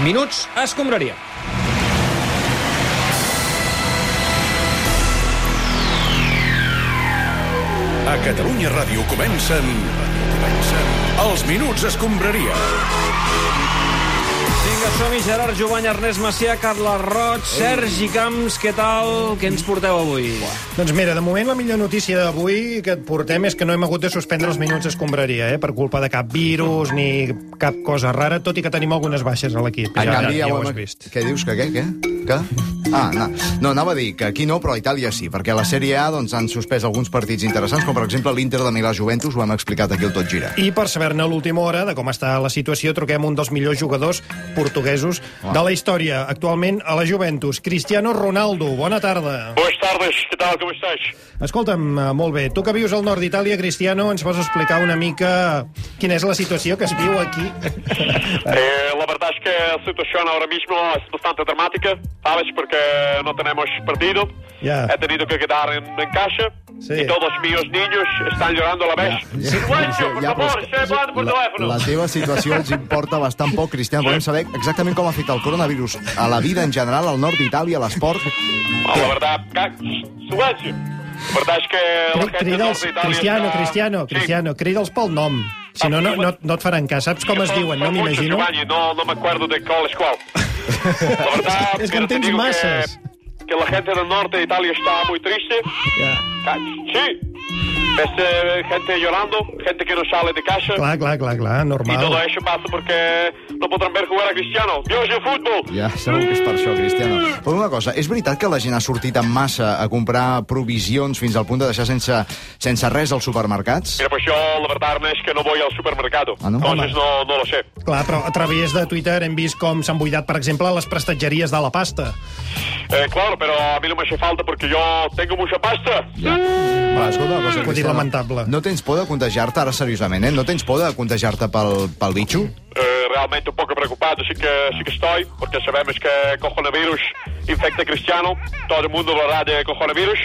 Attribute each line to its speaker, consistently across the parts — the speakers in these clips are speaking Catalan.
Speaker 1: Minuts a escombraria.
Speaker 2: A Catalunya Ràdio comencen... comencen els Minuts Escombraria.
Speaker 1: Vinga, som-hi, Gerard Jovany, Ernest Macià, Carles Roig, Sergi Camps, què tal? Què ens porteu avui?
Speaker 3: Doncs mira, de moment la millor notícia d'avui que et portem és que no hem hagut de suspendre els minuts d'escombraria, eh? per culpa de cap virus ni cap cosa rara, tot i que tenim algunes baixes a l'equip.
Speaker 4: En canvi,
Speaker 3: ja,
Speaker 4: ja
Speaker 3: ja
Speaker 4: ho
Speaker 3: ho has
Speaker 4: hem-
Speaker 3: vist.
Speaker 4: Què dius, que què, què? Que? Ah, no. no, anava a dir que aquí no, però a Itàlia sí, perquè a la Sèrie A doncs, han suspès alguns partits interessants, com per exemple l'Inter de Milà-Juventus, ho hem explicat aquí al Tot Gira.
Speaker 3: I per saber-ne a l'última hora de com està la situació, truquem un dels millors jugadors portuguesos de la història, actualment a la Juventus, Cristiano Ronaldo. Bona tarda.
Speaker 5: Boas tardes, que tal, com estàs?
Speaker 3: Escolta'm, eh, molt bé, tu que vius al nord d'Itàlia, Cristiano, ens pots explicar una mica quina és la situació que es viu aquí?
Speaker 5: Eh, la verdad es que a situación ahora mismo es bastante dramática, ¿sabes? Porque no tenemos partido.
Speaker 3: Ya.
Speaker 5: He tenido que quedar en, en casa.
Speaker 3: Sí.
Speaker 5: Y todos mis niños están llorando a la vez. Silencio, por
Speaker 4: Ja, però
Speaker 5: favor,
Speaker 4: és que
Speaker 5: se van por teléfono.
Speaker 4: la teva situació els importa bastant poc, Cristian. Volem saber exactament com afecta el coronavirus a la vida en general, al nord d'Itàlia, a l'esport.
Speaker 5: Ah, la verdad, ca- silencio. La verdad es que la gente del
Speaker 3: Crida'ls,
Speaker 5: norte de Italia
Speaker 3: Cristiano,
Speaker 5: está-
Speaker 3: Cristiano,
Speaker 5: Sí.
Speaker 3: Cristiano, crida'ls pel nom. Si no, no, no, no et faran cas. Saps com es
Speaker 5: Son-
Speaker 3: diuen,
Speaker 5: son
Speaker 3: no
Speaker 5: muchos,
Speaker 3: m'imagino?
Speaker 5: Giovanni, no, no me acuerdo de cuál es cuál. La verdad,
Speaker 3: Es que
Speaker 5: mira,
Speaker 3: no
Speaker 5: te
Speaker 3: tienes
Speaker 5: digo
Speaker 3: masas.
Speaker 5: Que, que la gente del norte de Italia está muy triste.
Speaker 3: Ja.
Speaker 5: Ca- Sí. Ves eh, gente llorando, gente que no sale de casa.
Speaker 3: Clar, clar, clar, clar,
Speaker 5: Y todo
Speaker 3: normal.
Speaker 5: eso pasa porque no podrán ver jugar a Cristiano. Dios el fútbol.
Speaker 4: Ja, segur que és per això, Cristiano. Però una cosa, és veritat que la gent ha sortit en massa a comprar provisions fins al punt de deixar sense, sense res als supermercats?
Speaker 5: Mira, pues yo la verdad no es que no voy al supermercado.
Speaker 4: Ah, no?
Speaker 5: Entonces no, no lo sé.
Speaker 3: Clar, però a través de Twitter hem vist com s'han buidat, per exemple, les prestatgeries de la pasta.
Speaker 5: Eh, claro, pero a mí no me hace falta porque yo tengo mucha pasta.
Speaker 4: Va, escolta una cosa,
Speaker 3: Ho he dit
Speaker 4: Cristiano.
Speaker 3: lamentable.
Speaker 4: No tens por de contagiar-te, ara seriosament, eh? No tens por de contagiar-te pel, pel bitxo?
Speaker 5: Eh, realmente un poco preocupado sí que, sí que estoy, porque sabemos que coronavirus infecta a Cristiano, todo el mundo hablará de coronavirus,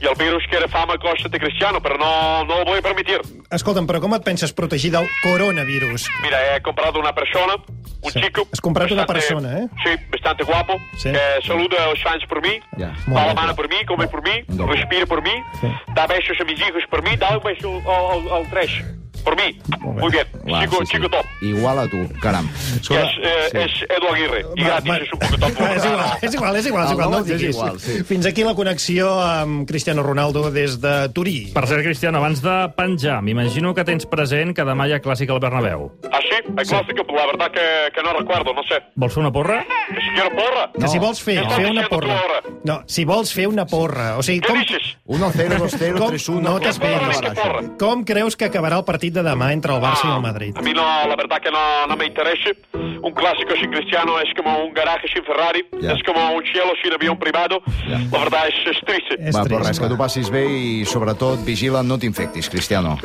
Speaker 5: y el virus quiere fama a costa de Cristiano, pero no, no lo voy a permitir.
Speaker 3: Escolta'm, però com et penses protegir del coronavirus?
Speaker 5: Mira, he comprado una persona, un
Speaker 3: Sí.
Speaker 5: chico...
Speaker 3: Has comprado una persona, ¿eh?
Speaker 5: Sí, bastante guapo,
Speaker 3: Sí.
Speaker 5: que saluda los fans por mí,
Speaker 4: Ya.
Speaker 3: Muy
Speaker 5: da la
Speaker 3: bien.
Speaker 5: mano por mí, come por mí,
Speaker 4: Un doble.
Speaker 5: respira por mí,
Speaker 3: Sí.
Speaker 5: da besos a mis hijos por mí, da un beso al, al, al tres por mí.
Speaker 3: Muy bien.
Speaker 5: Muy bien,
Speaker 4: Va,
Speaker 5: chico,
Speaker 4: sí, sí.
Speaker 5: chico top.
Speaker 4: Igual a tu, caram.
Speaker 5: Que és, eh, és Edu Aguirre. I gratis,
Speaker 3: Va,
Speaker 5: és un poquet top.
Speaker 3: va, és igual, és igual, és igual. És
Speaker 4: El
Speaker 3: igual,
Speaker 4: nom
Speaker 3: no,
Speaker 4: ho dic
Speaker 3: llegis.
Speaker 4: igual, sí.
Speaker 3: Fins aquí la connexió amb Cristiano Ronaldo des de Turí.
Speaker 6: Per cert, Cristiano, abans de penjar, m'imagino que tens present que demà hi ha clàssic al Bernabéu.
Speaker 5: Ah, sí? El clásico, la verdad que, que no recuerdo, no sé.
Speaker 6: Vols fer una porra?
Speaker 5: Que si quiero porra.
Speaker 3: Que si vols fer,
Speaker 5: No.
Speaker 3: fer una
Speaker 5: Estàs dient tu
Speaker 3: porra...
Speaker 5: ahora.
Speaker 3: No, si vols fer una porra... O sigui,
Speaker 5: ¿Qué
Speaker 3: com,
Speaker 5: dices?
Speaker 4: 1-0, 2-0,
Speaker 3: Com?
Speaker 4: 3-1...
Speaker 3: No
Speaker 5: t'esperis.
Speaker 4: Barça.
Speaker 3: com creus que acabarà el partit de demà entre el Barça i
Speaker 4: Ah.
Speaker 3: el Madrid?
Speaker 5: Ah, A mí no, la verdad que no, no me interesa. Un clásico sin Cristiano es como un garaje sin Ferrari,
Speaker 4: Ya.
Speaker 5: es como un cielo sin avión privado. La verdad es, es triste.
Speaker 3: És
Speaker 4: Va, però
Speaker 3: trist,
Speaker 4: res, que tu passis bé i, sobretot, vigila, no t'infectis, Cristiano.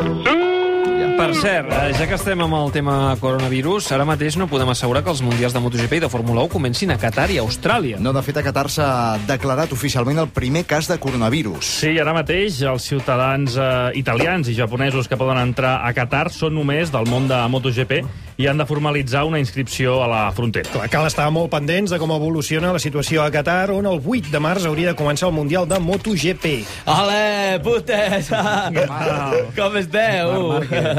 Speaker 1: Per cert, eh, ja que estem amb el tema coronavirus, ara mateix no podem assegurar que els mundials de MotoGP i de Fórmula 1 comencin a Qatar i a Austràlia.
Speaker 4: No, de fet, a Qatar s'ha declarat oficialment el primer cas de coronavirus.
Speaker 6: Sí, ara mateix els ciutadans eh, italians i japonesos que poden entrar a Qatar són només del món de MotoGP i han de formalitzar una inscripció a la frontera.
Speaker 3: Clar, cal estar molt pendents de com evoluciona la situació a Qatar, on el 8 de març hauria de començar el Mundial de MotoGP.
Speaker 7: Ole, putes! Com esteu?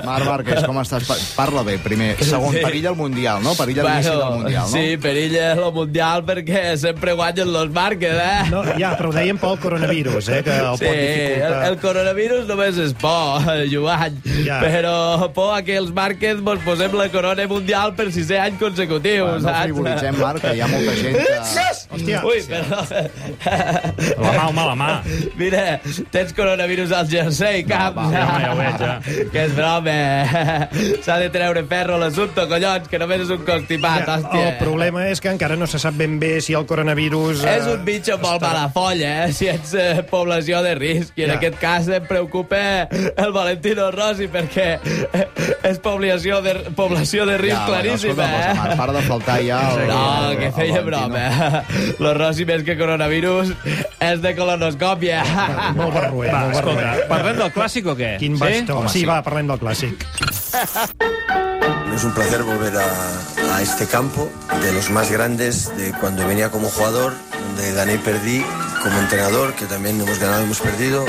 Speaker 4: Marc Márquez, com estàs? Pa- Parla bé, primer. Segon, perilla al Mundial, no? Perilla bueno, l'inici del Mundial, no?
Speaker 7: sí, perilla el Mundial perquè sempre guanyen los Márquez, eh?
Speaker 3: No, ja, però ho dèiem pel coronavirus, eh, que el
Speaker 7: Sí,
Speaker 3: pot
Speaker 7: el,
Speaker 3: dificultar.
Speaker 7: el coronavirus només és por, Joan.
Speaker 3: Ja.
Speaker 7: Però por a que els Márquez mos posem la corona mundial per sisè any consecutiu,
Speaker 4: Va, no frivolitzem, Marc, que hi ha molta gent que...
Speaker 3: Hòstia,
Speaker 7: Ui, perdó.
Speaker 6: La mà, home, la mà.
Speaker 7: Mira, tens coronavirus al jersei, cap.
Speaker 4: va,
Speaker 6: ja, home, ja ho veig, ja.
Speaker 7: Que és broma. eh? S'ha de treure ferro a l'assumpte, collons, que només és un constipat,
Speaker 3: Ja,
Speaker 7: hòstia.
Speaker 3: el problema és que encara no se sap ben bé si el coronavirus... eh,
Speaker 7: És un bitxo molt mala folla, eh? si ets eh, població de risc. I en
Speaker 3: Ja.
Speaker 7: aquest cas em preocupa el Valentino Rossi, perquè eh, és població de, població de risc claríssima.
Speaker 4: eh?
Speaker 7: eh?
Speaker 4: Marc, para de faltar ja... El,
Speaker 7: No,
Speaker 4: el-
Speaker 7: que
Speaker 4: el
Speaker 7: feia
Speaker 4: Valentino.
Speaker 8: eh?
Speaker 7: broma. eh? Lo Rossi, més que coronavirus, és de colonoscòpia.
Speaker 3: Molt barruer,
Speaker 6: Va,
Speaker 3: molt barruer.
Speaker 6: escolta,
Speaker 1: Parlem del clàssic o què?
Speaker 3: Quin bastó.
Speaker 4: Home,
Speaker 3: Sí,
Speaker 4: sí.
Speaker 3: va, parlem del clàssic.
Speaker 7: Es un placer volver a, a este campo, de los más grandes, de cuando venía como jugador, donde gané y perdí, como entrenador, que también hemos ganado y hemos perdido.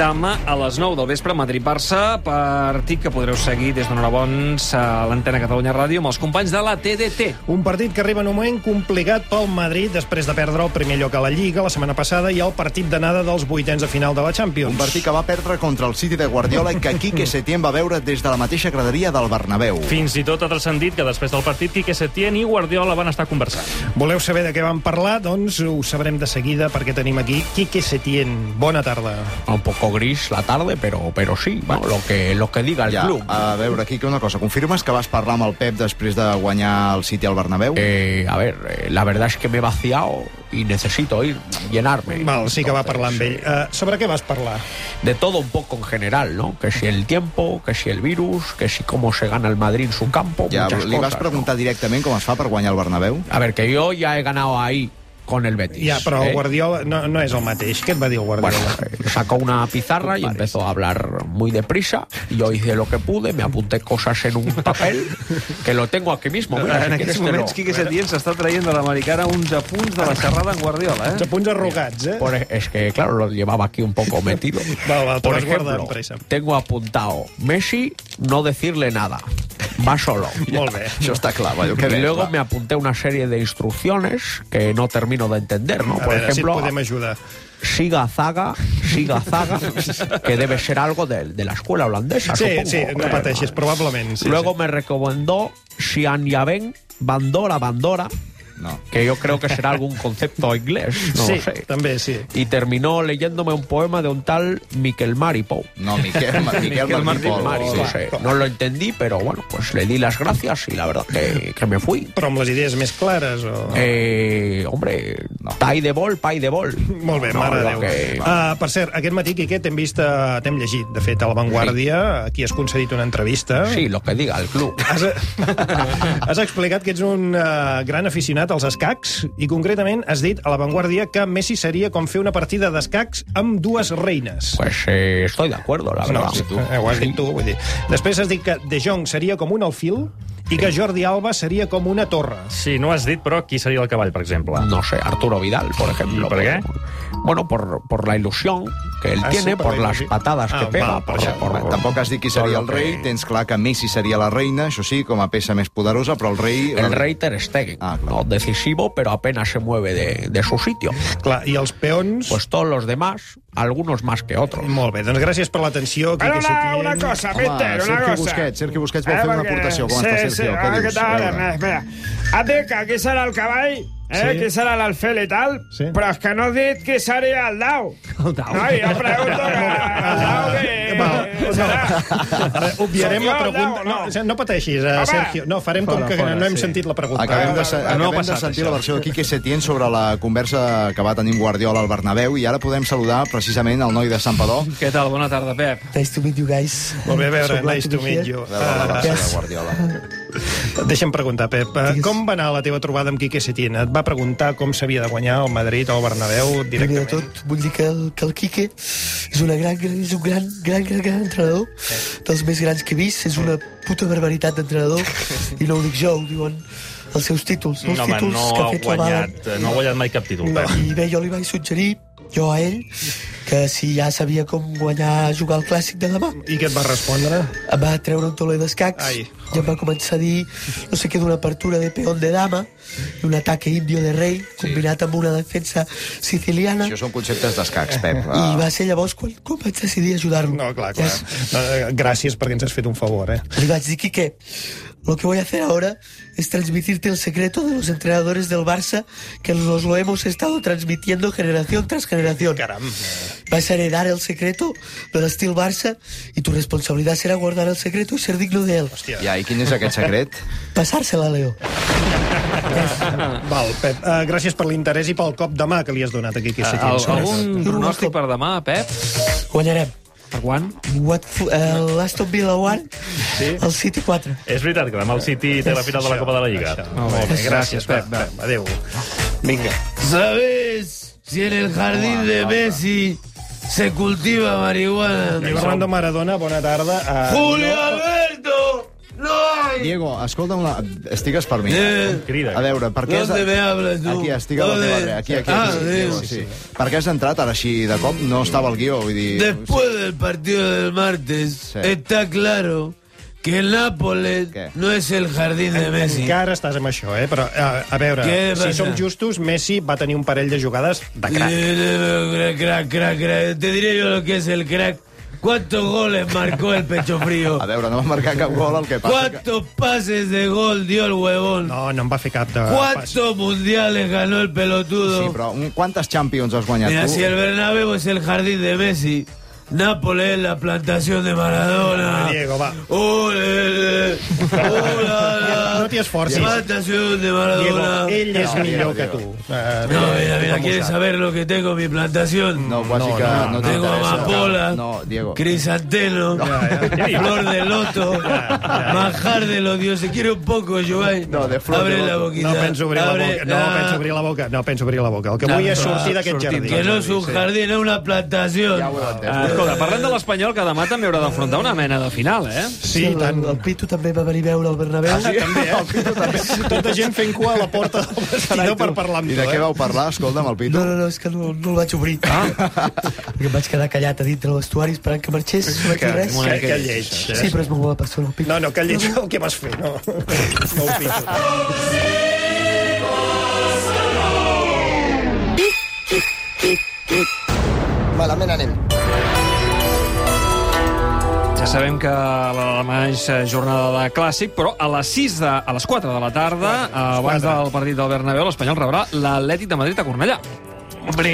Speaker 1: Demà a les 9 del vespre, Madrid-Barça, partit que podreu seguir des d'una hora bons a l'antena Catalunya Ràdio amb els companys de la TDT.
Speaker 3: Un partit que arriba en un moment complicat pel Madrid després de perdre el primer lloc a la Lliga la setmana passada i el partit d'anada dels vuitens de final de la Champions.
Speaker 4: Un partit que va perdre contra el City de Guardiola i que Quique Setién va veure des de la mateixa graderia del Bernabéu.
Speaker 6: Fins i tot ha transcendit que després del partit Quique Setién i Guardiola van estar conversant.
Speaker 3: Voleu saber de què vam parlar? Doncs ho sabrem de seguida perquè tenim aquí Quique Setién. Bona tarda.
Speaker 8: Un poco gris la tarde, pero, pero sí, ¿no? lo, que, lo que diga el
Speaker 4: Ja,
Speaker 8: club.
Speaker 4: a veure, Quique, una cosa. Confirmes que vas parlar amb el Pep després de guanyar el City al Bernabéu?
Speaker 8: Eh, a ver, eh, la verdad es que me he vaciado y necesito ir, llenarme.
Speaker 3: Val, sí que va
Speaker 8: Entonces,
Speaker 3: parlar amb ell.
Speaker 8: eh,
Speaker 3: Uh, sobre què vas parlar?
Speaker 8: de todo un poco en general, ¿no? Que si el tiempo, que si el virus, que si cómo se gana el Madrid en su campo,
Speaker 4: Ja,
Speaker 8: muchas
Speaker 4: li vas
Speaker 8: cosas,
Speaker 4: preguntar directament com es fa per guanyar el Bernabéu?
Speaker 8: ¿no? A ver, que yo ya he ganado ahí con el Betis.
Speaker 3: Ja, però
Speaker 8: ¿eh?
Speaker 3: el Guardiola no, no és el mateix. Què et va dir el
Speaker 8: Bueno,
Speaker 3: Guardiola?
Speaker 8: eh, sacó una pizarra y empezó a hablar muy deprisa. y Yo hice lo que pude, me apunté cosas en un papel que lo tengo aquí mismo. Mira, si
Speaker 1: en
Speaker 3: este
Speaker 8: quieres
Speaker 1: aquests
Speaker 8: te lo-
Speaker 1: moments, Quique Setién s'està traient de l'americana 11 punts de la xerrada en Guardiola,
Speaker 3: De
Speaker 1: eh?
Speaker 3: punts arrugats, eh?
Speaker 8: Por- e, es que, claro, lo llevaba aquí un poco metido.
Speaker 3: Vale, vale, te
Speaker 8: Por
Speaker 3: vas guardando
Speaker 8: ejemplo,
Speaker 3: presa.
Speaker 8: tengo apuntado Messi, no decirle nada. Va solo.
Speaker 3: Molt bé.
Speaker 4: Això està clar, va, que
Speaker 8: Y
Speaker 4: bé,
Speaker 8: luego
Speaker 4: va.
Speaker 8: me apunté una serie de instrucciones que no termino de entender,
Speaker 3: A
Speaker 8: ¿no? Por
Speaker 3: veure si
Speaker 8: ejemplo,
Speaker 3: et podem ajudar.
Speaker 8: siga zaga, siga zaga, que debe ser algo de, de la escuela holandesa.
Speaker 3: Sí,
Speaker 8: supongo.
Speaker 3: sí, no pateixis, probablement. Sí,
Speaker 8: Luego
Speaker 3: sí.
Speaker 8: me recomendó Sian Yaben, Bandora, Bandora,
Speaker 4: No.
Speaker 8: que yo creo que será algún concepto inglés, no
Speaker 3: sí,
Speaker 8: lo sé.
Speaker 3: també, sí.
Speaker 8: Y terminó leyéndome un poema de un tal Miquel Maripo.
Speaker 4: No, Miquel, Ma- Miquel, Miquel Martí Pol.
Speaker 8: Mari, no,
Speaker 4: Sí.
Speaker 8: sé, no lo entendí, pero bueno, pues le di las gracias y la verdad que, que me fui.
Speaker 3: Però amb les idees més clares o...
Speaker 8: Eh, hombre, pay de bol, pay de bol.
Speaker 3: Molt bé, mare de
Speaker 8: lo
Speaker 3: Déu.
Speaker 8: que-
Speaker 3: Uh, per cert, aquest matí, Quique, t'hem vist, eh, t'hem llegit, de fet, a La Vanguardia, aquí has concedit una entrevista.
Speaker 8: Sí, lo que diga el club.
Speaker 3: Has, has explicat que ets un uh, gran aficionat als escacs i concretament has dit a La Vanguardia que Messi seria com fer una partida d'escacs amb dues reines.
Speaker 8: Pues eh, estoy de acuerdo, la verdad.
Speaker 3: eh, ho has dit tu, vull dir. Després has dit que De Jong seria com un alfil i que Jordi Alba sería como una torre.
Speaker 6: Sí, no has dit, però qui seria el cavall, per exemple?
Speaker 8: No sé, Arturo Vidal, por ejemplo.
Speaker 6: ¿Y por qué?
Speaker 8: Bueno, por, por la ilusión que él
Speaker 3: Ah, sí,
Speaker 8: tiene,
Speaker 3: por
Speaker 8: por,
Speaker 3: la
Speaker 8: las
Speaker 3: ilusión.
Speaker 8: patadas
Speaker 3: Ah,
Speaker 8: que pega.
Speaker 3: va, por allá.
Speaker 4: Va, Tampoc has dit qui seria el
Speaker 8: todo lo
Speaker 4: rei,
Speaker 8: que-
Speaker 4: tens clar que Messi seria la reina, això sí, com a peça més poderosa, però el rei...
Speaker 8: El rey Ter Stegen,
Speaker 4: Ah, claro.
Speaker 8: ¿no? decisivo, pero apenas se mueve de, de su sitio.
Speaker 3: Clar, i els peons...
Speaker 8: Pues todos los demás, algunos más que otros.
Speaker 3: Molt bé, doncs gràcies per l'atenció. Quique Setién.
Speaker 4: Home, Sergio Busquets,
Speaker 9: Eh,
Speaker 4: Sergio Busquets
Speaker 8: Eh,
Speaker 4: vol fer una aportació. Com està, Sergio?
Speaker 8: ah,
Speaker 4: Què dius? A veure.
Speaker 9: Espera, has dit que aquí serà el cavall, eh?
Speaker 3: Sí.
Speaker 9: Sí. Qui serà l'alfel i tal,
Speaker 3: Sí.
Speaker 9: sí. però és que no has dit qui seria el dau. El dau. No, jo pregunto que el dau
Speaker 3: Va,
Speaker 9: que
Speaker 3: no.
Speaker 9: serà.
Speaker 3: A veure, Obviarem
Speaker 9: Sergio,
Speaker 3: la pregunta.
Speaker 9: no, no.
Speaker 3: No, no pateixis, eh,
Speaker 9: Home.
Speaker 3: Sergio. No, farem com que no hem sentit la pregunta.
Speaker 4: Acabem de, se-
Speaker 1: Ah, ha
Speaker 4: acabem de
Speaker 1: passat,
Speaker 4: sentir
Speaker 1: això.
Speaker 4: la versió de Quique Setién sobre la conversa que va tenir amb Guardiola al Bernabéu i ara podem saludar precisament el noi de Sant Padó.
Speaker 1: Què tal? Bona tarda, Pep.
Speaker 10: Nice to meet you guys.
Speaker 3: Molt bé, a veure, nice to meet you.
Speaker 4: A veure, la
Speaker 3: Ah,
Speaker 4: gràcia de Guardiola.
Speaker 3: Deixa'm preguntar, Pep, eh, com va anar la teva trobada amb Quique Setién? Et va preguntar com s'havia de guanyar el Madrid o el Bernabéu
Speaker 10: Primer de
Speaker 3: directament?
Speaker 10: tot, vull dir que el, que el Quique és, una gran, gran, és un gran, gran, gran, gran entrenador, dels més grans que he vist, és una puta barbaritat d'entrenador, i no ho dic jo, ho diuen els seus títols, no, els
Speaker 6: no, home,
Speaker 10: títols
Speaker 6: no
Speaker 10: que
Speaker 6: ha
Speaker 10: ha fet
Speaker 6: guanyat,
Speaker 10: la
Speaker 6: no ha guanyat mai cap títol.
Speaker 3: No.
Speaker 6: No.
Speaker 10: I bé, jo li vaig suggerir, jo a ell, que si ja sabia com guanyar jugar al clàssic de demà,
Speaker 3: I què et va respondre?
Speaker 10: em va treure un tauler d'escacs
Speaker 3: Ai,
Speaker 10: i em va començar a dir no sé què d'una apertura de peón de dama i un ataque indio de rei combinat amb una defensa siciliana
Speaker 4: Això són conceptes d'escacs, Pep. Ah,
Speaker 10: i va ser llavors quan, quan vaig decidir ajudar-lo.
Speaker 3: No, clar, clar.
Speaker 10: Ja
Speaker 3: No, eh, Gràcies perquè ens has fet un favor, eh?
Speaker 10: Li vaig dir, Quique, lo que voy a hacer ahora es transmitirte el secreto de los entrenadores del Barça que nos lo hemos estado transmitiendo generación tras generación.
Speaker 3: Caram.
Speaker 10: Vas a heredar el secreto del estilo Barça y tu responsabilidad será guardar el secreto y ser digno de él.
Speaker 3: Hòstia.
Speaker 4: Ja, i quin és aquest secret?
Speaker 10: Pasársela, Leo.
Speaker 3: Val, Pep, eh, gràcies per l'interès i pel cop de mà que li has donat a Quique
Speaker 1: Eh, Al,
Speaker 3: Setién.
Speaker 1: algun pronòstic per demà, Pep?
Speaker 10: Guanyarem.
Speaker 1: Per quan?
Speaker 10: What, eh, L'Aston Villa 1, sí. el City 4.
Speaker 6: És veritat que demà el City té la final de la Copa de la Lliga.
Speaker 1: Molt bé, gràcies, Pep.
Speaker 3: Va, adéu. Vinga.
Speaker 11: ¿Sabes si en el jardín de Messi
Speaker 7: se cultiva marihuana.
Speaker 3: Diego Armando Maradona, bona tarda. Uh,
Speaker 7: Julio Alberto! ¡No!
Speaker 4: Diego, escolta'm la... Estigues per mi.
Speaker 7: Eh,
Speaker 4: Crida. A veure, per què... has-
Speaker 7: ¿Dónde me hablas tú?
Speaker 4: Aquí, estic a la
Speaker 7: ¿Dónde?
Speaker 4: teva dreta. Aquí, aquí.
Speaker 7: Ah,
Speaker 4: aquí,
Speaker 7: Diego,
Speaker 4: Diego, sí. Per què has entrat ara així de cop? No estava al guió, vull dir...
Speaker 7: Después del partido del martes, está claro que el Nápoles no es el jardín de Messi.
Speaker 3: Encara estàs amb això, eh? Però, a, a veure,
Speaker 7: Què
Speaker 3: si
Speaker 7: passa?
Speaker 3: som justos, Messi va tenir un parell de jugades de crac.
Speaker 7: Eh, eh, eh, Crack, crack, crack. Te diré yo lo que es el crack. ¿Cuántos goles marcó el pecho frío?
Speaker 4: A veure, no va marcar cap gol, el que passa... Que...
Speaker 7: ¿Cuántos pases de gol dio el huevón?
Speaker 3: No, no em va fer cap de...
Speaker 7: ¿Cuántos mundiales ganó el pelotudo?
Speaker 4: Sí, però un- quantes Champions has guanyat
Speaker 7: Mira,
Speaker 4: tu?
Speaker 7: si el Bernabéu es el jardín de Messi, Nápoles es la plantación de Maradona.
Speaker 3: Diego, va.
Speaker 7: ¡Ole!
Speaker 3: No t'hi esforcis.
Speaker 7: Plantación de Maradona.
Speaker 3: Diego, ell és
Speaker 7: No,
Speaker 3: millor
Speaker 7: Diego,
Speaker 3: que tu. Eh,
Speaker 7: No,
Speaker 8: eh,
Speaker 7: mira, mira, ¿quieres saber lo que tengo en mi plantación?
Speaker 4: No, bàsica, no, no,
Speaker 7: tengo
Speaker 4: t'interessa.
Speaker 7: amapola,
Speaker 4: No, Diego.
Speaker 7: crisanteno, flor de loto, manjar de los dioses. Quiero un poco, Joan.
Speaker 4: No, de flor
Speaker 7: Abre
Speaker 4: de
Speaker 7: la
Speaker 4: loto.
Speaker 7: boquita.
Speaker 3: No penso obrir la
Speaker 7: Abre-
Speaker 3: boca. No
Speaker 7: Ah.
Speaker 3: penso obrir la boca. No penso obrir la boca. El que
Speaker 7: No,
Speaker 3: vull és
Speaker 7: no,
Speaker 3: sortir d'aquest
Speaker 7: sortim
Speaker 3: jardí.
Speaker 7: Que no es un jardín, es una plantación.
Speaker 1: Ah, escolta, parlant de l'Espanyol, que demà també haurà d'afrontar una mena de final, eh?
Speaker 3: Sí, i tant.
Speaker 10: El Pitu també va venir a veure el Bernabéu. Ah,
Speaker 3: eh?
Speaker 4: també,
Speaker 3: Tota gent fent cua a la porta del vestidor per parlar amb tu,
Speaker 4: I de què
Speaker 3: eh?
Speaker 4: vau parlar? Escolta'm, el Pitu.
Speaker 10: No, no, no, és que no, no el vaig obrir. Ah. Perquè em vaig quedar callat a dintre de l'estuari esperant que marxés. No vaig dir res.
Speaker 3: que, que lleig. eh?
Speaker 10: Sí, però és molt bona persona. el Pitu.
Speaker 3: No, no, que lleig el que vas fer, no. No ho pinto.
Speaker 12: Malament anem.
Speaker 1: Ja sabem que l'alemany és eh, jornada de clàssic, però a les 6 de, a les 4 de la tarda, eh, abans del partit del Bernabéu, l'Espanyol rebrà l'Atlètic de Madrid a Cornellà. Hombre,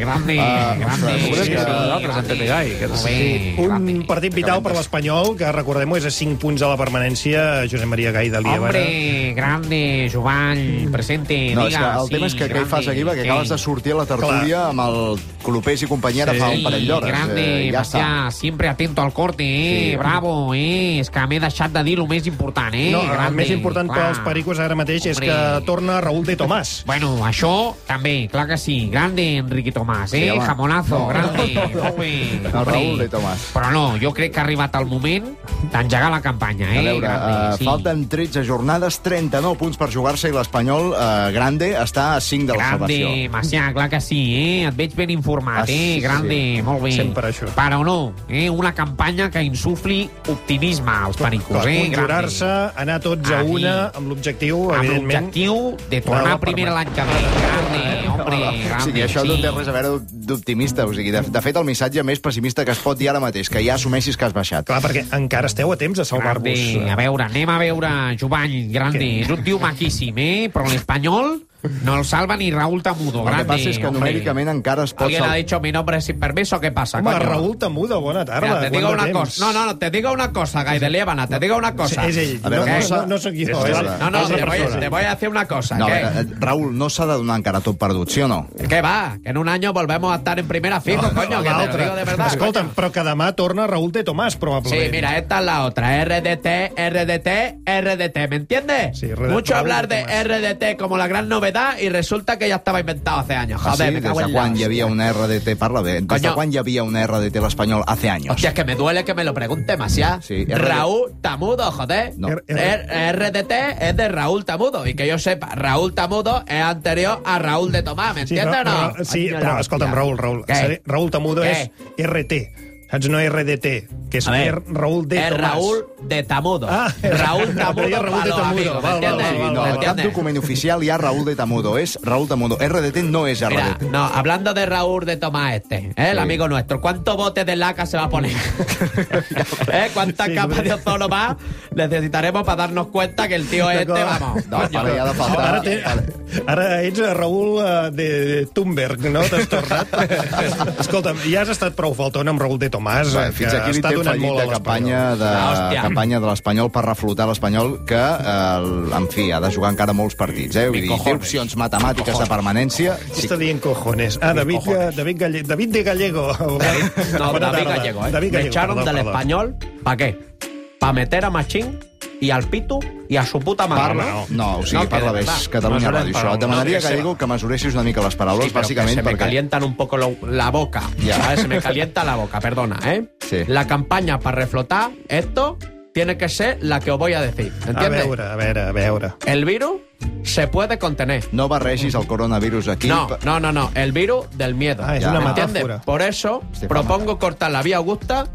Speaker 1: grande,
Speaker 4: Ah,
Speaker 1: grande.
Speaker 4: ostres,
Speaker 1: Segura
Speaker 4: sí,
Speaker 1: que
Speaker 4: sí.
Speaker 1: nosaltres en Pepe Gai. Que sí.
Speaker 3: Un partit vital per l'Espanyol, que recordem-ho, és a 5 punts a la permanència, Josep Maria Gai de Lieva.
Speaker 8: Hombre, grande, Jovan, presente,
Speaker 4: No, és que
Speaker 8: diga.
Speaker 4: el tema és que què hi fas aquí? Perquè acabes de sortir a la tertúlia amb el Clopés i companyia ara
Speaker 8: Sí,
Speaker 4: fa un parell d'hores.
Speaker 8: grande,
Speaker 4: Eh, ja està.
Speaker 8: Macià, sempre atento al corte, eh?
Speaker 4: Sí.
Speaker 8: Bravo, eh? És que m'he deixat de dir el més important, eh?
Speaker 3: No, el
Speaker 8: grande,
Speaker 3: més important
Speaker 8: clar.
Speaker 3: pels pericos ara mateix és
Speaker 8: Hombre.
Speaker 3: que torna Raúl de Tomàs.
Speaker 8: Bueno, això també, clar que sí. Grande, Enrique Tomàs,
Speaker 3: Sí,
Speaker 8: eh?
Speaker 3: home.
Speaker 8: Jamonazo,
Speaker 3: No,
Speaker 8: grande.
Speaker 3: no, no.
Speaker 8: Hombre,
Speaker 4: El
Speaker 8: hombre.
Speaker 4: Raúl de Tomàs.
Speaker 8: Però no, jo crec que ha arribat el moment d'engegar la campanya, eh?
Speaker 4: A veure,
Speaker 8: grande,
Speaker 4: eh,
Speaker 8: sí.
Speaker 4: falten 13 jornades, 39 punts per jugar-se i l'Espanyol eh, Grande està a 5 de la salvació.
Speaker 8: Grande, Macià, clar que sí, eh? Et veig ben informat,
Speaker 4: Ah, sí,
Speaker 8: eh?
Speaker 4: sí,
Speaker 8: Grande,
Speaker 4: sí.
Speaker 8: molt bé.
Speaker 4: Sempre això.
Speaker 8: Però no, eh? Una campanya que insufli optimisme als pericos, eh?
Speaker 3: Conjurar-se, anar tots a
Speaker 8: Aquí.
Speaker 3: una, amb l'objectiu,
Speaker 8: Amb
Speaker 3: evidentment...
Speaker 8: l'objectiu de tornar primer l'any que ve.
Speaker 4: Eh,
Speaker 8: Grande, hombre, grande.
Speaker 4: o sigui, això no
Speaker 8: sí.
Speaker 4: té res a veure d'optimista. O sigui, de, de fet, el missatge més pessimista que es pot dir ara mateix, que ja assumeixis que has baixat.
Speaker 3: Clar, perquè encara esteu a temps de
Speaker 8: Grande, a veure, anem a veure Jovany, grande.
Speaker 4: Què?
Speaker 8: És un tio maquíssim, eh? Però l'espanyol no el salva ni Raúl Tamudo,
Speaker 4: El
Speaker 8: grande.
Speaker 4: que passa és que
Speaker 8: hombre.
Speaker 4: numèricament encara es pot...
Speaker 8: Alguien ha
Speaker 4: sal-
Speaker 8: dicho mi nombre sin permiso, ¿qué pasa?
Speaker 3: Home,
Speaker 8: coño?
Speaker 3: Raül Tamudo, bona tarda.
Speaker 8: Mira, te digo
Speaker 3: Quant de
Speaker 8: una
Speaker 3: temps.
Speaker 8: cosa. No, no, no, te digo una cosa, Gai de Liébana, te digo una cosa.
Speaker 3: Es ell,
Speaker 4: A ver, no-
Speaker 8: ¿Qué?
Speaker 4: no- no soy yo,
Speaker 8: No,
Speaker 3: eh?
Speaker 4: es
Speaker 8: no,
Speaker 4: la-
Speaker 8: no,
Speaker 4: es la
Speaker 8: te voy,
Speaker 4: persona.
Speaker 8: te voy a hacer una cosa.
Speaker 4: No, a
Speaker 8: ¿qué?
Speaker 4: veure, eh, Raül, no s'ha de donar encara tot perdut, sí o no?
Speaker 8: ¿Qué va? Que en un año volvemos a estar en primera fijo, coño, que te lo digo de verdad.
Speaker 3: Escolta'm, però que demà torna Raúl de Tomàs,
Speaker 8: Sí,
Speaker 3: probablement.
Speaker 8: mira, esta es la otra. RDT, RDT, RDT, ¿me entiendes? Mucho hablar de RDT como la gran novedad y resulta que ya estaba inventado hace años.
Speaker 4: Ah,
Speaker 8: Joder,
Speaker 4: sí?
Speaker 8: me
Speaker 4: Des
Speaker 8: cago
Speaker 4: de
Speaker 8: en la
Speaker 4: quan hi havia una RDT? Parla bé. Des de
Speaker 8: Coño.
Speaker 4: quan hi havia una RDT a l'Espanyol? Hace años.
Speaker 8: Hostia, es que me duele que me lo pregunte demasiado.
Speaker 4: Sí, RDT.
Speaker 8: Raúl Tamudo, joder.
Speaker 4: No.
Speaker 8: R- R- RDT es de Raúl Tamudo. Y que yo sepa, Raúl Tamudo es anterior a Raúl de Tomás, ¿me entiendes o no?
Speaker 3: Ra- sí, però escolta'm, Raül, Raül.
Speaker 8: Què?
Speaker 3: Seré- Raül Tamudo
Speaker 8: Què?
Speaker 3: és RT. Saps? No RDT, que és
Speaker 8: A ver,
Speaker 3: R- Raül de
Speaker 8: es
Speaker 3: Tomàs.
Speaker 8: Raúl de Tamudo.
Speaker 3: Ah,
Speaker 8: Raúl Tamudo
Speaker 3: Raúl
Speaker 8: para
Speaker 3: de
Speaker 8: los
Speaker 3: Tamudo.
Speaker 8: amigos, ¿me
Speaker 3: Val, val,
Speaker 8: entiendes?
Speaker 4: Sí, no,
Speaker 8: ¿Me
Speaker 4: a cap
Speaker 8: entiendes?
Speaker 4: document oficial hi ha Raúl de Tamudo. És Raúl Tamudo. RDT no és RDT.
Speaker 8: Mira, no, hablando de Raúl de Tomás este, ¿eh? el
Speaker 4: Sí.
Speaker 8: amigo nuestro, ¿cuántos botes de laca se va a poner? ¿Eh? ¿Cuántas capas de ozono más necesitaremos para darnos cuenta que el tío este, vamos?
Speaker 4: No, para, hi ha de faltar...
Speaker 3: Ara, té, ara ets Raül eh, de Thunberg, no? T'has tornat. Escolta'm, ja has estat prou faltona amb Raül de Tomàs,
Speaker 4: Bé,
Speaker 3: eh,
Speaker 4: fins aquí li
Speaker 3: està
Speaker 4: té
Speaker 3: donant
Speaker 4: fallit
Speaker 3: molt a
Speaker 4: la campanya de,
Speaker 3: l'Espanyol.
Speaker 4: campanya de l'Espanyol per reflotar l'Espanyol que, eh, en fi, ha de jugar encara molts partits. Eh? Vull dir, té opcions matemàtiques de permanència.
Speaker 3: Sí. Està dient cojones. Ah, David, David, Galle, David de Gallego.
Speaker 8: No,
Speaker 3: Bona
Speaker 8: David
Speaker 3: tarda.
Speaker 8: Gallego, ¿eh?
Speaker 3: David
Speaker 8: Me
Speaker 3: Gallego,
Speaker 8: echaron
Speaker 3: perdó,
Speaker 8: del
Speaker 3: perdó.
Speaker 8: español, ¿para qué? ¿Para meter a Machín?
Speaker 11: y al pito y a su puta madre.
Speaker 4: Parla, no, no, o sigui, parla
Speaker 11: de
Speaker 4: bé,
Speaker 11: verdad.
Speaker 4: Catalunya
Speaker 11: Mesuren
Speaker 4: Ràdio, això.
Speaker 11: paraules.
Speaker 4: Et demanaria,
Speaker 11: Sí,
Speaker 4: Gallego, que mesuressis una mica les paraules,
Speaker 11: pero que
Speaker 4: bàsicament,
Speaker 11: se me
Speaker 4: perquè...
Speaker 11: calientan un poco lo- la boca.
Speaker 4: Ya.
Speaker 11: ¿sabes? Se me calienta la boca, perdona, ¿eh? La campaña para reflotar esto tiene que ser la que os voy a decir,
Speaker 3: A
Speaker 11: ¿entiendes?
Speaker 3: veure, a veure, a veure.
Speaker 11: El virus se puede contener.
Speaker 4: No barregis el coronavirus aquí.
Speaker 11: No, no, no, no. El virus del miedo.
Speaker 4: Ah, es una
Speaker 11: ¿me
Speaker 4: metáfora.
Speaker 11: entiendes? Por eso propongo cortar la vía Augusta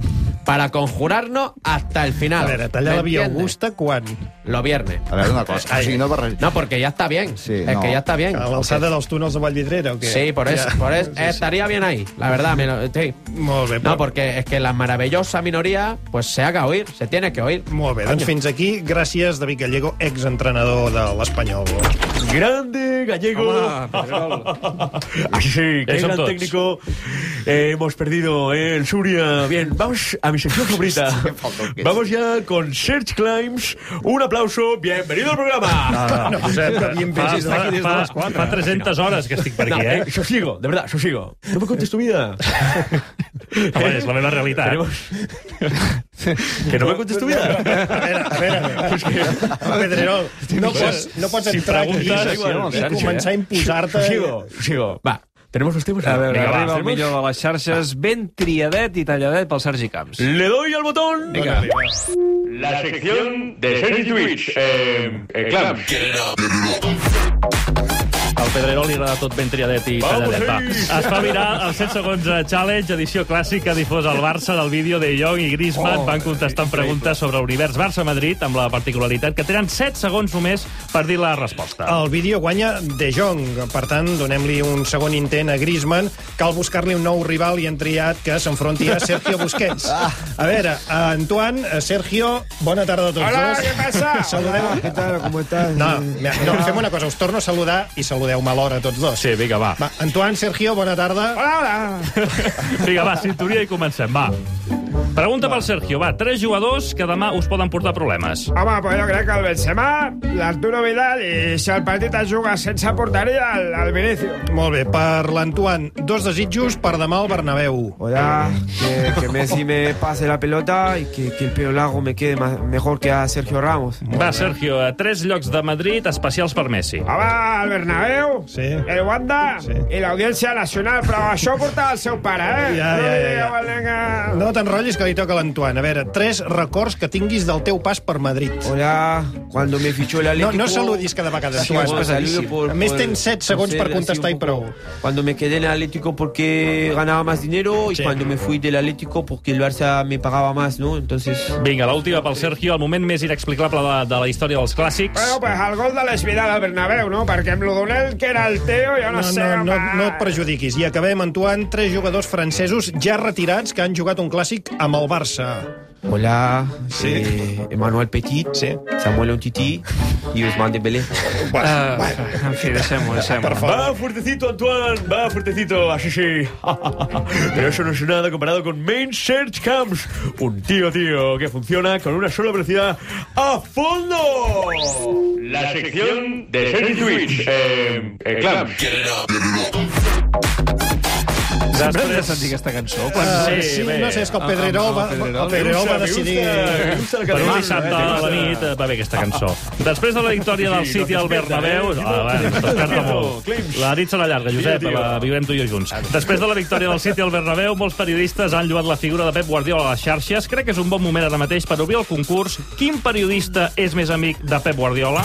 Speaker 11: para conjurarnos hasta el final.
Speaker 3: A veure, tallar
Speaker 11: ¿me
Speaker 3: la via
Speaker 11: entiendes?
Speaker 3: Augusta quan?
Speaker 11: Los viernes.
Speaker 4: A veure, una cosa. O sigui, no barregis...
Speaker 11: No, porque ya está bien. es
Speaker 4: no.
Speaker 11: que ya está bien.
Speaker 3: A l'alçada dels túnels de Vallvidrera o què?
Speaker 11: Sí, por eso.
Speaker 3: Ja.
Speaker 11: Por eso Estaría bien ahí, la verdad. me lo- sí.
Speaker 3: Molt bé,
Speaker 11: No, porque es que la maravillosa minoría pues se haga oír, se tiene que oír.
Speaker 3: Molt bé, doncs fins aquí. Gràcies, David Gallego, exentrenador de l'Espanyol.
Speaker 12: Grande gallego. Así sí,
Speaker 3: Eso
Speaker 12: qué gran
Speaker 3: todos.
Speaker 12: técnico. Eh, hemos perdido eh, el Suria. Bien, vamos a mi sección favorita. Vamos ya con Search Climbs. Un aplauso. Bienvenido al programa.
Speaker 6: No, no, Josep, que bienvenido. Fa- fa- fa- fa 300 hores que estic per aquí, eh?
Speaker 12: Sosiego, de verdad, sosiego. No me contes tu vida.
Speaker 6: Home, és la meva realitat.
Speaker 12: Que no me contes tu vida.
Speaker 3: A veure, Pedrerol, no pots, no pots
Speaker 12: Si
Speaker 3: entrar aquí
Speaker 12: preguntes,
Speaker 3: i,
Speaker 12: igual,
Speaker 3: i
Speaker 12: Sergi,
Speaker 3: començar
Speaker 12: eh?
Speaker 3: a imposar-te...
Speaker 12: Sigo, sigo. Va, tenemos los temas.
Speaker 1: A veure,
Speaker 12: Vinga, va,
Speaker 1: arriba el
Speaker 12: tenemos-
Speaker 1: millor de les xarxes, ben triadet i talladet pel Sergi Camps.
Speaker 12: Le doy al botón.
Speaker 1: Vinga.
Speaker 12: La sección
Speaker 5: de Sergi Twitch. Eh, eh, Clams.
Speaker 6: Al Pedrerol li agrada tot ben triadet i talladet, va. Es fa viral el 100 segons eh, Challenge, edició clàssica difosa al Barça del vídeo de Jong i
Speaker 9: Oh,
Speaker 6: Griezmann. Van contestant preguntes sobre l'univers Barça-Madrid amb la particularitat que tenen 7 segons només per dir la resposta.
Speaker 9: Oh.
Speaker 3: El vídeo guanya De Jong, per tant, donem-li un segon intent a Griezmann. Cal buscar-li un nou rival i han triat que s'enfronti a Sergio Busquets.
Speaker 12: Ah.
Speaker 3: A veure, a Antoine, a Sergio, bona tarda a tots
Speaker 9: Hola,
Speaker 3: dos.
Speaker 9: què passa?
Speaker 3: Saludem...
Speaker 9: Hola,
Speaker 3: què tal, com estàs? No, mira, no, fem una cosa, us torno a saludar i saludeu-me alhora tots dos.
Speaker 6: Sí, vinga, va.
Speaker 3: Va, Antoine, Sergio, bona tarda.
Speaker 9: Hola, hola.
Speaker 6: Vinga, va, cinturia i comencem, va. Pregunta pel Sergio, va. Tres jugadors que demà us poden portar problemes.
Speaker 9: Home, però jo crec que el Benzema, l'Arturo Vidal i si el partit es juga sense porteria, el, el Vinicius.
Speaker 3: Molt bé, per l'Antoine, dos desitjos per demà al Bernabéu.
Speaker 9: Ah.
Speaker 13: Hola, que, que Messi me pase la pelota y que, que el pelo largo me quede ma- mejor que a Sergio Ramos.
Speaker 6: Va, Sergio, a tres llocs de Madrid especials per Messi.
Speaker 9: Home, el Bernabéu, sí. el Wanda sí. i l'Audiència Nacional, però això ho portava el seu pare, eh?
Speaker 3: Ja, ja, ja, ja.
Speaker 9: No li digueu al
Speaker 3: No t'enrotllis que li toca a l'Antoine. A veure, tres records que tinguis del teu pas per Madrid.
Speaker 13: Hola, cuando me fichó el Atlético...
Speaker 3: No, no saludis cada vegada,
Speaker 13: Sí,
Speaker 3: tu has
Speaker 13: bueno,
Speaker 3: pesadíssim.
Speaker 13: saludo por-
Speaker 3: A més,
Speaker 13: por-
Speaker 3: tens set
Speaker 13: por
Speaker 3: segons
Speaker 13: ser
Speaker 3: per
Speaker 13: así
Speaker 3: contestar
Speaker 13: un
Speaker 3: i
Speaker 13: poco-
Speaker 3: prou.
Speaker 13: Cuando me quedé en el Atlético porque ganaba más dinero y cuando me fui del Atlético porque el Barça me pagaba más, ¿no? Entonces...
Speaker 6: Vinga, l'última pel Sergio, el moment més inexplicable de, de la història dels clàssics.
Speaker 9: Bueno, pues el gol de l'Esvidal al Bernabéu, no? Perquè amb l'Odonel, que era el teu, jo no,
Speaker 3: No,
Speaker 9: sé...
Speaker 3: no, no,
Speaker 9: home.
Speaker 3: no et perjudiquis. I acabem, Antoine, tres jugadors francesos ja retirats que han jugat un clàssic amb el Barça.
Speaker 13: Hola, eh, Emmanuel Petit, eh, Samuel Ontiti y Ousmane Dembélé.
Speaker 1: Ah, en fi, deixem-ho, deixem-ho.
Speaker 12: Va fuertecito, Antoine, va fuertecito, así sí. Pero eso no es nada comparado con Main Search Camps, un tío, tío, que funciona con una sola velocidad a fondo.
Speaker 5: La sección de Sergi Twitch. Eh, eh, Clams.
Speaker 1: Sempre hem de sentir aquesta cançó. Quan...
Speaker 3: Ah, sí, no sé, és que el Pedrerol va- el Pedrerol va decidir-
Speaker 6: Per un dissabte a la nit eh, va bé aquesta cançó. Després de la victòria del
Speaker 12: Sí, no,
Speaker 6: City al
Speaker 12: despierta,
Speaker 6: Bernabéu...
Speaker 12: eh?
Speaker 6: Ah, bueno, desperta molt. La nit serà llarga, Josep,
Speaker 12: Sí, tio.
Speaker 6: la viurem tu i jo junts. Després de la victòria del City al Bernabéu, molts periodistes han lluat la figura de Pep Guardiola a les xarxes. Crec que és un bon moment ara mateix per obrir el concurs. Quin periodista és més amic de Pep Guardiola?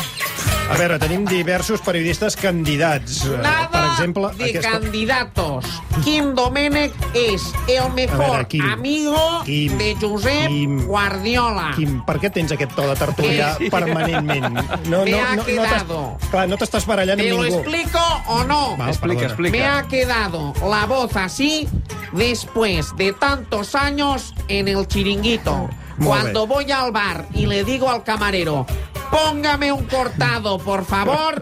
Speaker 3: A veure, tenim diversos periodistes candidats. Eh, Per exemple,
Speaker 8: de
Speaker 3: aquesta...
Speaker 8: candidatos. Kim Domènech és el mejor
Speaker 3: veure, Quim.
Speaker 8: amigo
Speaker 3: Quim.
Speaker 8: de Josep
Speaker 3: Quim.
Speaker 8: Guardiola.
Speaker 3: Quim, per què tens aquest to de tertulià
Speaker 8: Sí.
Speaker 3: permanentment? No, no,
Speaker 8: Me
Speaker 3: no,
Speaker 8: ha
Speaker 3: no, t'es-
Speaker 8: quedado.
Speaker 3: clar, no t'estàs barallant
Speaker 8: ¿Te
Speaker 3: amb
Speaker 8: lo
Speaker 3: ningú.
Speaker 8: explico o no?
Speaker 3: Va, Explica, perdona. explica.
Speaker 8: Me ha quedado la voz así después de tantos años en el chiringuito.
Speaker 14: Muy
Speaker 8: Cuando voy al bar y le digo al camarero, póngame un cortado, por favor,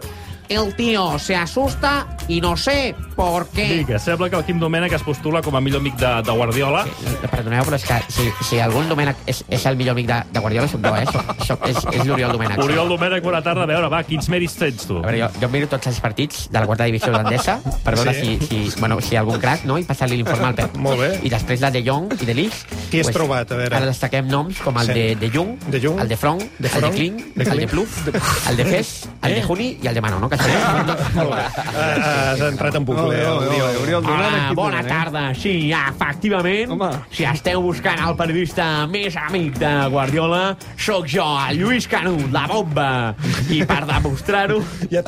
Speaker 8: el tío se asusta
Speaker 15: y no sé por
Speaker 8: Eh.
Speaker 15: qué.
Speaker 6: Vinga, sembla que el Quim Domènech es postula com a millor amic de, de Guardiola.
Speaker 8: Perdoneu, però és que si, si algun Domènec és, és el millor amic de, de Guardiola, soc jo, eh? Soc, soc, és és l'Oriol Domènech.
Speaker 6: Oriol Domènech, bona tarda. A veure, va, quins mèrits tens, tu?
Speaker 8: A veure, jo, jo miro tots els partits de la quarta divisió holandesa per veure
Speaker 6: Sí.
Speaker 8: sí. si, si, bueno, si hi ha algun crac, no? I passar-li l'informe al Pep.
Speaker 3: Molt bé.
Speaker 8: I després la de Jong i de Lich.
Speaker 3: Qui has trobat? A veure.
Speaker 8: Ara destaquem noms com el
Speaker 3: Sí.
Speaker 8: sí. de, de Jong, de Jung, el de Frong, de el de
Speaker 3: Frong,
Speaker 8: Kling,
Speaker 3: de
Speaker 8: el
Speaker 3: Kling.
Speaker 8: de Pluf, el de Fes, el de Juni i el de Mano, no? Que
Speaker 3: Molt bé. Ah, Has entrat en bucle, eh, Oriol.
Speaker 8: Hola, Ah,
Speaker 3: eh?
Speaker 8: bona tarda. Sí, efectivament. Home. Si esteu buscant el periodista més amic de Guardiola, sóc jo, el Lluís Canut, la bomba. I per demostrar-ho...
Speaker 3: Ja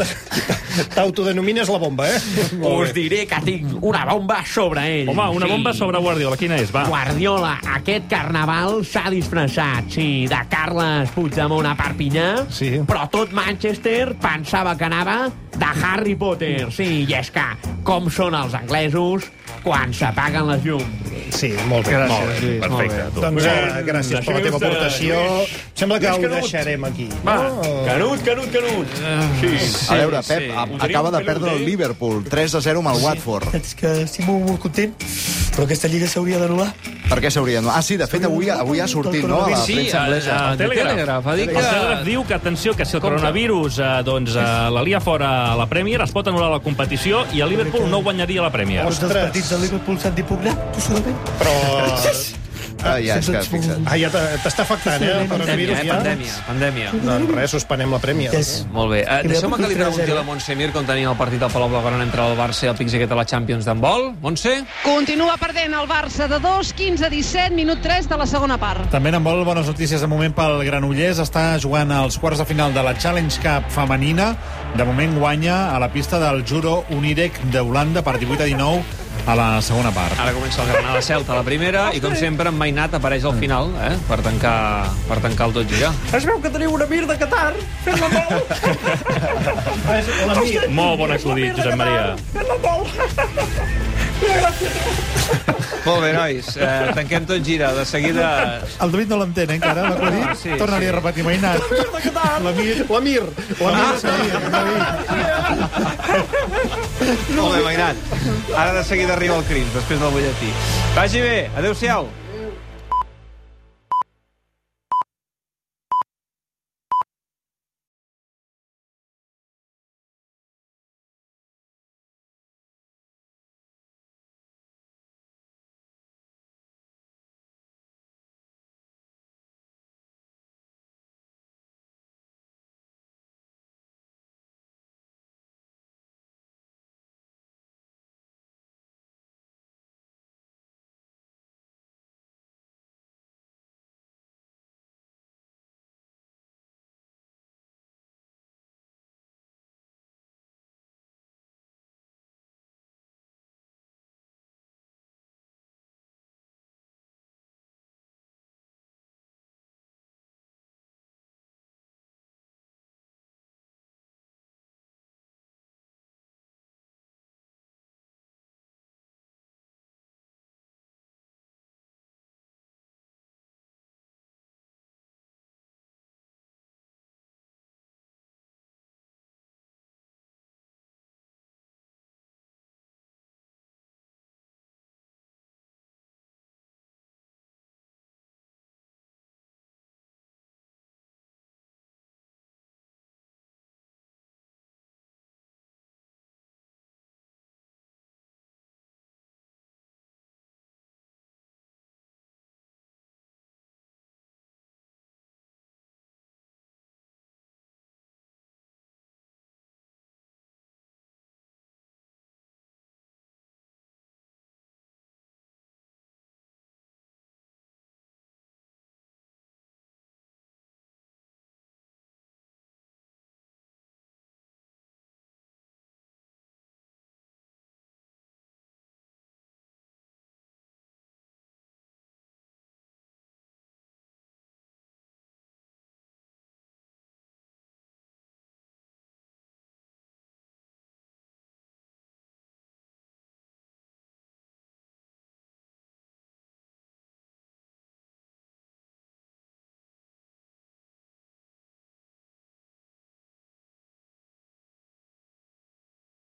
Speaker 3: T'autodenomines la bomba, eh? Molt
Speaker 8: Us
Speaker 3: bé.
Speaker 8: diré que tinc una bomba sobre ell.
Speaker 6: Home, una bomba sobre Guardiola, quina és? Va.
Speaker 8: Guardiola, aquest carnaval s'ha disfressat, sí, de Carles Puigdemont a Perpinyà, sí. però tot Manchester pensava que anava de Harry Potter. Sí, i és que, com són els anglesos quan s'apaguen les llums.
Speaker 3: Sí, molt bé.
Speaker 8: Gràcies,
Speaker 3: molt bé.
Speaker 8: Lluís, molt
Speaker 3: Perfecte.
Speaker 8: bé.
Speaker 3: Doncs
Speaker 8: Molt
Speaker 3: eh,
Speaker 8: bé.
Speaker 3: gràcies per la
Speaker 8: Així
Speaker 3: teva
Speaker 8: m'agrada,
Speaker 3: aportació.
Speaker 8: Lluís.
Speaker 3: Sembla que ho
Speaker 8: Lluís Canut.
Speaker 3: deixarem aquí.
Speaker 8: Va,
Speaker 16: Oh.
Speaker 12: Canut, Canut, Canut.
Speaker 16: Eh.
Speaker 4: Sí,
Speaker 12: sí,
Speaker 4: a veure, Pep,
Speaker 12: sí.
Speaker 4: a-
Speaker 12: Ho tenim
Speaker 4: acaba de
Speaker 12: pelut,
Speaker 4: perdre el
Speaker 12: eh?
Speaker 4: Liverpool 3 a 0 amb el Watford.
Speaker 10: És que estic molt, molt content, però aquesta lliga s'hauria d'anul·lar.
Speaker 4: Per què s'hauria d'anar? Ah, sí, de fet, avui, avui ha sortit, no?, a la
Speaker 6: Sí,
Speaker 1: ah.
Speaker 4: premsa anglesa.
Speaker 6: a- a Telegraph. Eh, El Telegraph diu que, atenció, que si el coronavirus eh, doncs, eh, la lia fora a la Premier, es pot anul·lar la competició i el Liverpool no guanyaria la Premier.
Speaker 10: Tots els partits del Liverpool s'han d'impugnat, possiblement.
Speaker 3: Però...
Speaker 4: Ah, ja, és
Speaker 3: Sí,
Speaker 4: que,
Speaker 3: tots
Speaker 4: fixa't.
Speaker 3: Ah, ja t'ha- t'està afectant, eh, el coronavirus, ja?
Speaker 1: pandèmia, pandèmia.
Speaker 3: Doncs res, suspenem la prèmia.
Speaker 1: Molt bé. Eh, Deixeu-me que li pregunti a la Montse Mir com tenia el partit del Palau Blaugrana entre el Barça i el Piquet a la Champions d'handbol. Montse?
Speaker 17: Continua perdent el Barça de 2, 15-17, minut 3 de la segona part.
Speaker 16: També en vol bones notícies de moment pel Granollers. Està jugant als quarts de final de la Challenge Cup femenina. De moment guanya a la pista del Juro Unirec d'Holanda per 18 a 19 a la segona part.
Speaker 1: Ara comença el Granada Celta a la primera i, com sempre, en Mainat apareix al final eh, per, tancar, per tancar el tot ja.
Speaker 18: Es veu que teniu una mir de Qatar. Fes-la molt.
Speaker 6: Molt bon acudit, Josep Maria.
Speaker 18: Fes-la molt. Gràcies.
Speaker 1: Molt bé, nois. Eh, tanquem tot gira. De seguida...
Speaker 16: El David no l'entén, eh, encara, l'acudit.
Speaker 1: Ah, sí,
Speaker 16: Sí, Torna-li
Speaker 1: sí.
Speaker 16: a repetir, mainat.
Speaker 3: La
Speaker 16: La Mir.
Speaker 3: Mir.
Speaker 16: La Mir.
Speaker 1: Molt bé, Mainat. Ara de seguida arriba el Crims, després del butlletí. Vagi bé. Adéu-siau.